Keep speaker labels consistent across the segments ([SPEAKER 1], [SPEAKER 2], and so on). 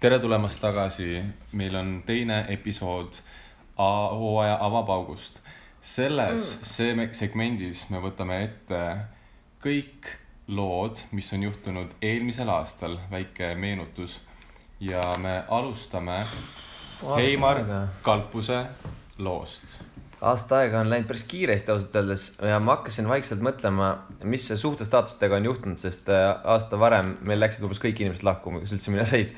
[SPEAKER 1] tere tulemast tagasi , meil on teine episood A- hooaja avapaugust . selles mm. segmendis me võtame ette kõik lood , mis on juhtunud eelmisel aastal , väike meenutus . ja me alustame Heimar Kalpuse loost .
[SPEAKER 2] aasta aega on läinud päris kiiresti ausalt öeldes ja ma hakkasin vaikselt mõtlema , mis suhtestaatustega on juhtunud , sest äh, aasta varem meil läksid umbes kõik inimesed lahku , kes üldse minna said .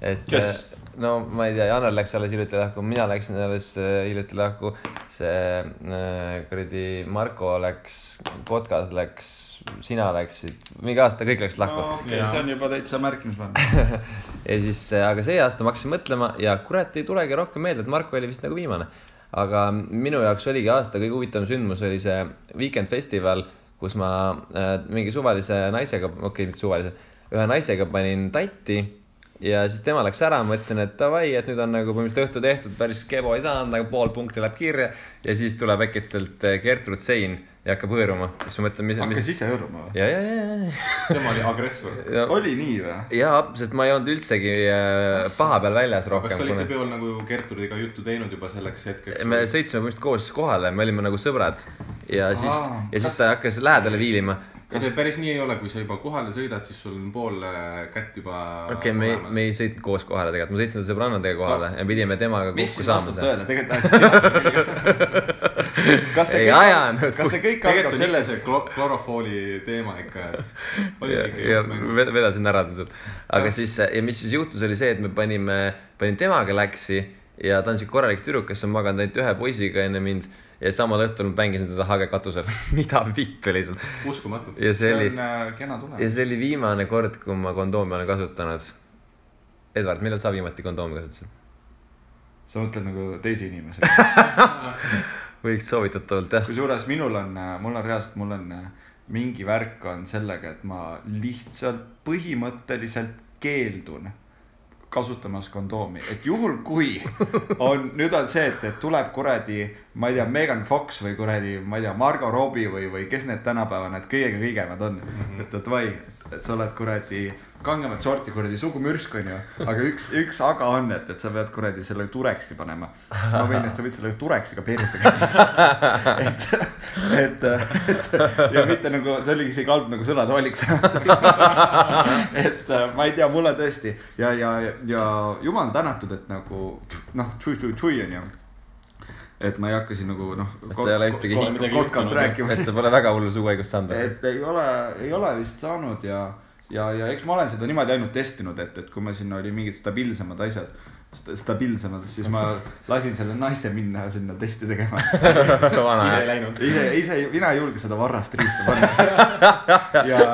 [SPEAKER 2] et
[SPEAKER 3] Kes?
[SPEAKER 2] äh, no ma ei tea , Janar läks alles hiljuti lahku , mina läksin alles äh, hiljuti lahku , see äh, kuradi Marko läks , Kotkas läks , sina läksid , mingi aasta kõik läks lahku no.
[SPEAKER 3] okei ,
[SPEAKER 1] Jaa.
[SPEAKER 3] see on juba täitsa märkimisväärne .
[SPEAKER 2] ja siis , aga see aasta ma hakkasin mõtlema ja kurat ei tulegi rohkem meelde , et Marko oli vist nagu viimane . aga minu jaoks oligi aasta kõige huvitavam sündmus oli see Weekend Festival , kus ma äh, mingi suvalise naisega , okei okay, , mitte suvalise , ühe naisega panin tatti ja siis tema läks ära , mõtlesin , et davai , et nüüd on nagu põhimõtteliselt õhtu tehtud , päris kebo ei saanud , aga pool punkti läheb kirja ja siis tuleb äkitselt äh, Gertrud Sein ja hakkab hõõruma , siis ma mõtlen , mis , mis
[SPEAKER 3] hakkas ise hõõruma või ?
[SPEAKER 2] ja , ja , ja , ja ,
[SPEAKER 1] tema oli agressor .
[SPEAKER 2] ja ,
[SPEAKER 3] oli nii või ?
[SPEAKER 2] jaa , sest ma ei olnud üldsegi äh, paha peal väljas
[SPEAKER 1] kas
[SPEAKER 2] rohkem
[SPEAKER 1] te . olite peol nagu Gertrudiga juttu teinud juba selleks hetkeks ?
[SPEAKER 2] me sõitsime põhimõtteliselt koos kohale , me olime nagu sõbrad ja siis
[SPEAKER 3] Aa, ,
[SPEAKER 2] ja siis ta hakkas lähedale viilima .
[SPEAKER 1] kas see päris nii ei ole , kui sa juba kohale sõidad , siis sul on pool äh, kätt juba
[SPEAKER 2] okei , me , me ei sõitnud koos kohale tegelikult , me sõitsin sõbrannadega kohale ja pidime temaga
[SPEAKER 3] mis
[SPEAKER 2] kokku
[SPEAKER 3] siis vastab
[SPEAKER 2] saama .
[SPEAKER 3] tõele , tegelikult täiesti tead . kas see
[SPEAKER 2] Ei ajanud.
[SPEAKER 3] kõik , kas see kõik
[SPEAKER 1] tegelikult
[SPEAKER 3] algab
[SPEAKER 1] on ikka
[SPEAKER 3] sellest
[SPEAKER 1] see , klo- , klorofooli teema ikka , et oli
[SPEAKER 2] ja,
[SPEAKER 1] mingi
[SPEAKER 2] ja
[SPEAKER 1] mäng .
[SPEAKER 2] ved- vedasin ära lihtsalt . aga siis ja mis siis juhtus , oli see , et me panime , panin temaga läksi ja ta on siuke korralik tüdruk , kes on maganud ainult ühe poisiga enne mind ja samal õhtul ma mängisin teda hage katusel . mida vittu lihtsalt .
[SPEAKER 1] uskumatu .
[SPEAKER 2] ja see oli
[SPEAKER 3] on äh, kena
[SPEAKER 2] ja
[SPEAKER 3] tulemus .
[SPEAKER 2] see oli viimane kord , kui ma kondoomi olen kasutanud . Edward , millal sa viimati kondoomi kasutasid ?
[SPEAKER 3] sa mõtled nagu teise inimesega .
[SPEAKER 2] võiks soovitatavalt jah .
[SPEAKER 3] kusjuures minul on , mul on reaalselt , mul on äh, mingi värk on sellega , et ma lihtsalt põhimõtteliselt keeldun kasutamas kondoomi , et juhul kui on , nüüd on see , et , et tuleb kuradi , ma ei tea , Megan Fox või kuradi , ma ei tea , Margo Robbie või , või kes need tänapäeva need kõige kõigemad on mm , -hmm. et davai , et sa oled kuradi kangemat sorti kuradi sugumürsk onju , aga üks , üks aga on , et , et sa pead kuradi selle tureksi panema . siis ma võin , et sa võid selle tureksiga perse käia . et , et , et ja mitte nagu , ta oligi isegi halb nagu sõna , ta valiks et äh, ma ei tea , mulle tõesti ja , ja , ja jumal tänatud , et nagu noh , tšui-tšui-tšui onju . et ma ei hakka siin nagu noh .
[SPEAKER 2] Et sa ei ole ühtegi
[SPEAKER 1] hikku-
[SPEAKER 3] kotkast rääkima ,
[SPEAKER 2] et sa pole väga hullu suuhaigust saanud .
[SPEAKER 3] et ei ole , ei ole vist saanud ja , ja , ja eks ma olen seda niimoodi ainult testinud , et , et kui ma sinna oli mingid stabiilsemad asjad , stabiilsemad , siis ma lasin selle naise minna sinna testi tegema .
[SPEAKER 2] vana
[SPEAKER 1] ise ei
[SPEAKER 2] jah .
[SPEAKER 1] läinud .
[SPEAKER 3] ise , ise , mina ei julge seda varrast riista panna .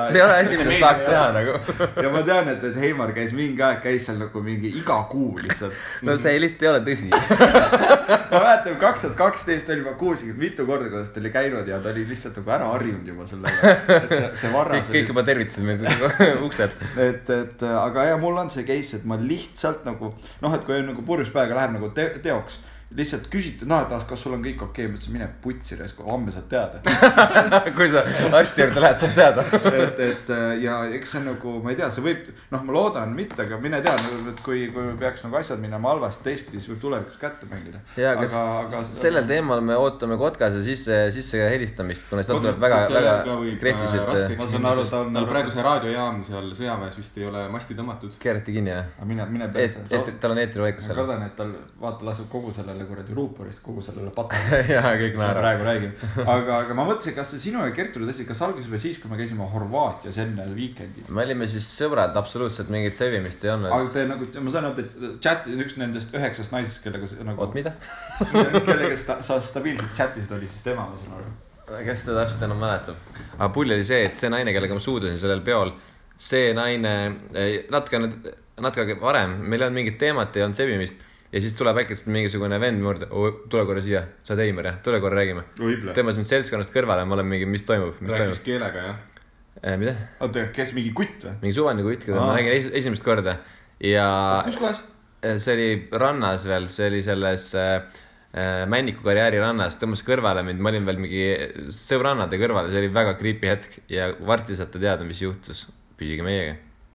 [SPEAKER 2] see ei ole asi , mida sa tahaks teha nagu .
[SPEAKER 3] ja ma tean , et , et Heimar käis mingi aeg , käis seal nagu mingi iga kuu lihtsalt .
[SPEAKER 2] no see lihtsalt ei ole tõsi .
[SPEAKER 3] ma mäletan , kaks tuhat kaksteist oli juba kuulsin mitu korda , kuidas ta oli käinud ja ta oli lihtsalt nagu ära harjunud juba sellega . et see , see varras
[SPEAKER 2] kõik , kõik
[SPEAKER 3] oli .
[SPEAKER 2] juba tervitasid meid nagu ukselt .
[SPEAKER 3] et , et aga ja mul on see case , et ma lihtsalt nagu noh , et kui on nagu purjus päevaga läheb nagu te teoks lihtsalt küsiti , noh , et ah, kas sul on kõik okei okay? , ma ütlesin mine putsi , homme saad teada .
[SPEAKER 2] kui sa arsti juurde lähed , saad teada .
[SPEAKER 3] et , et äh, ja eks see on nagu , ma ei tea , see võib , noh , ma loodan mitte , aga mine tea , et kui , kui peaks nagu asjad minema halvasti teistpidi , siis võib tulevikus kätte mängida .
[SPEAKER 2] ja , kas sellel teemal me ootame Kotkase sisse , sisse helistamist , kuna sealt tuleb väga , väga krehvtisid .
[SPEAKER 1] ma saan aru , ta on nagu- tal praegu see raadiojaam seal sõjaväes vist ei ole masti tõmmatud .
[SPEAKER 2] keerati kinni jah ?
[SPEAKER 3] aga mine , mine
[SPEAKER 2] et ,
[SPEAKER 3] perse .
[SPEAKER 2] et tal on eetrivaikus
[SPEAKER 3] ma
[SPEAKER 2] seal .
[SPEAKER 3] kardan , et tal , vaata , lasub kogu sellele kuradi ruuporist , kogu sellele patale .
[SPEAKER 2] jaa , kõik
[SPEAKER 3] mis me
[SPEAKER 2] naeravad .
[SPEAKER 3] praegu räägime . aga , aga ma mõtlesin , kas see sinu ja Gertrud asi , kas algas juba siis , kui me käisime Horvaatias enne Weekendit ?
[SPEAKER 2] me olime siis sõbrad , absoluutselt mingit sevimist ei olnud
[SPEAKER 3] aga . te nagu , ma saan aru , et chat , üks nendest üheksast naisest , kellega sa nagu
[SPEAKER 2] oot ,, mida ?
[SPEAKER 3] kellega sa sa stabiilselt chatisid , oli siis tema , ma saan aru
[SPEAKER 2] kes seda täpselt enam mäletab ? aga pull oli see , et see naine , kellega ma suudlesin sellel peol , see naine eh, natukene , natuke varem , meil ei olnud mingit teemat , ei olnud sebimist ja siis tuleb äkki lihtsalt mingisugune vend mu juurde , tule korra siia , sa oled Heimar jah , tule korra räägime .
[SPEAKER 3] võib-olla .
[SPEAKER 2] tõmbas mind seltskonnast kõrvale , ma olen mingi , mis toimub , mis
[SPEAKER 1] rääkis
[SPEAKER 2] toimub
[SPEAKER 1] keelega jah .
[SPEAKER 2] eh, ? mida ?
[SPEAKER 3] oota , kes mingi kutt või ?
[SPEAKER 2] mingi suvaline kutt , keda
[SPEAKER 3] Aa.
[SPEAKER 2] ma nägin esi- esimest korda ja
[SPEAKER 3] kus kohas ?
[SPEAKER 2] Äh, see oli rannas veel , see oli selles äh, äh, Männiku karjääri rannas , tõmbas kõrvale mind , ma olin veel mingi sõbrannade kõrval , see oli väga creepy hetk ja varti saate teada , mis juhtus , püsige meiega .